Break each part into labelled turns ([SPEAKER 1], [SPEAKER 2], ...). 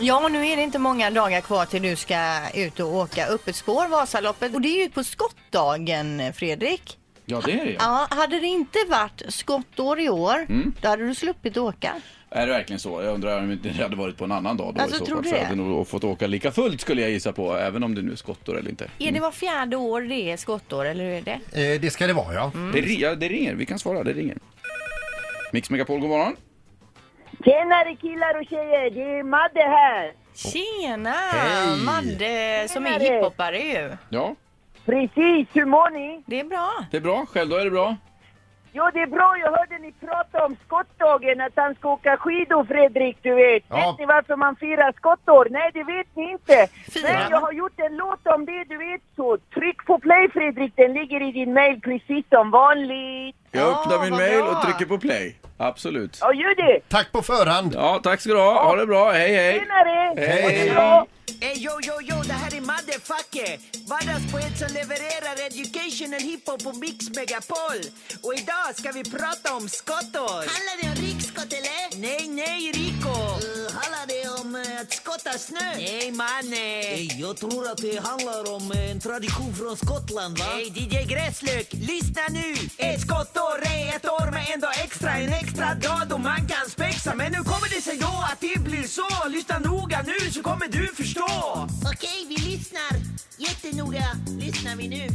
[SPEAKER 1] Ja, nu är det inte många dagar kvar till du ska ut och åka öppet spår Vasaloppet. Och det är ju på skottdagen, Fredrik.
[SPEAKER 2] Ja, det är det ju.
[SPEAKER 1] Ja, hade det inte varit skottår i år, då hade du sluppit åka.
[SPEAKER 2] Är det verkligen så? Jag undrar om det hade varit på en annan dag då
[SPEAKER 1] Alltså,
[SPEAKER 2] i så
[SPEAKER 1] tror
[SPEAKER 2] fall.
[SPEAKER 1] du
[SPEAKER 2] Så jag
[SPEAKER 1] det?
[SPEAKER 2] hade nog fått åka lika fullt skulle jag gissa på, även om det nu är skottår eller inte.
[SPEAKER 1] Är det var fjärde år det är skottår, eller hur är det?
[SPEAKER 3] Eh, det ska det vara ja.
[SPEAKER 1] Mm.
[SPEAKER 2] Det, ri- ja, det ringer, vi kan svara, det ringer. Mix Megapol, god morgon.
[SPEAKER 4] Tjenare killar och tjejer, det är Madde här.
[SPEAKER 1] Tjena!
[SPEAKER 3] Hej!
[SPEAKER 1] Madde som är
[SPEAKER 4] Tjenare!
[SPEAKER 1] hiphoppare ju.
[SPEAKER 2] Ja,
[SPEAKER 4] Precis, hur mår ni?
[SPEAKER 1] Det är bra.
[SPEAKER 2] det är bra. Själv då är det bra?
[SPEAKER 4] Jo, det är bra. Jag hörde ni prata om skottdagen, att han ska åka skidor, Fredrik, du vet.
[SPEAKER 3] Ja.
[SPEAKER 4] Vet ni varför man firar skottår? Nej, det vet ni inte.
[SPEAKER 1] Firar
[SPEAKER 4] Men
[SPEAKER 1] man?
[SPEAKER 4] jag har gjort en låt om det, du vet. Så tryck på play, Fredrik. Den ligger i din mail precis som vanligt.
[SPEAKER 2] Jag
[SPEAKER 1] Ja,
[SPEAKER 2] öppnar min
[SPEAKER 1] vad
[SPEAKER 2] mail
[SPEAKER 1] bra.
[SPEAKER 2] och trycker på play. Absolut.
[SPEAKER 4] Ja, gör det.
[SPEAKER 3] Tack på förhand.
[SPEAKER 2] Ja, tack ska du ha. Ha det bra. Hej, hej.
[SPEAKER 4] Tjenare!
[SPEAKER 2] Hej.
[SPEAKER 4] Ha det bra.
[SPEAKER 5] Ey yo yo yo, det här är Motherfucker! Vardagspoet som levererar educational hiphop på Mix Megapol. Och idag ska vi prata om skottor. Handlar det om riksskott eller? Nej, nej Rico! Uh, handlar det om att skotta snö? Nej mannen! Jag tror att det handlar om en tradition från Skottland va? Hej DJ Gräslök, lyssna nu! Ett skottår är ett år med en dag extra, en extra dag då man kan spexa. Men nu kommer det sig då att det blir så. Lyssna noga nu så kommer du förstå.
[SPEAKER 6] Okej, vi lyssnar. Jättenoga lyssnar vi nu.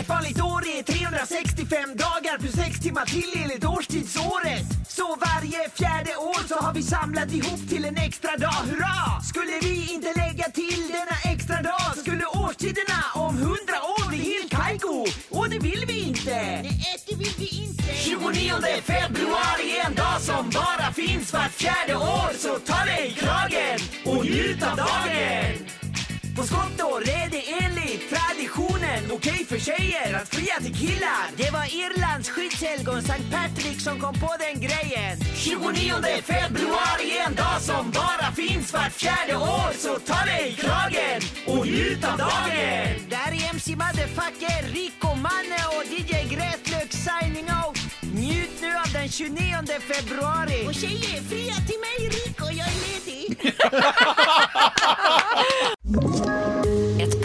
[SPEAKER 5] Ett vanligt år är 365 dagar plus 6 timmar till enligt årstidsåret. Så varje fjärde år så har vi samlat ihop till en extra dag, hurra! Skulle vi inte lägga till denna extra dag skulle årstiderna om 100 år bli helt kajko. Och det vill vi inte!
[SPEAKER 6] Nej, det vill vi inte.
[SPEAKER 5] 29 februari är en dag som bara finns vart fjärde år Så ta dig i kragen och njut av dagen På skottår är det enligt traditionen okej för tjejer att fria till killar Det var Irlands skyddshelgon Sankt Patrick som kom på den grejen 29 februari är en dag som bara finns vart fjärde år Så ta dig i kragen och njut av dagen det här är MC Motherfucker, Rico Manne och DJ Gräslök signing out. Njut nu av den 29 februari.
[SPEAKER 6] Och tjejer, fria till mig Rico, jag är ledig.
[SPEAKER 7] Ett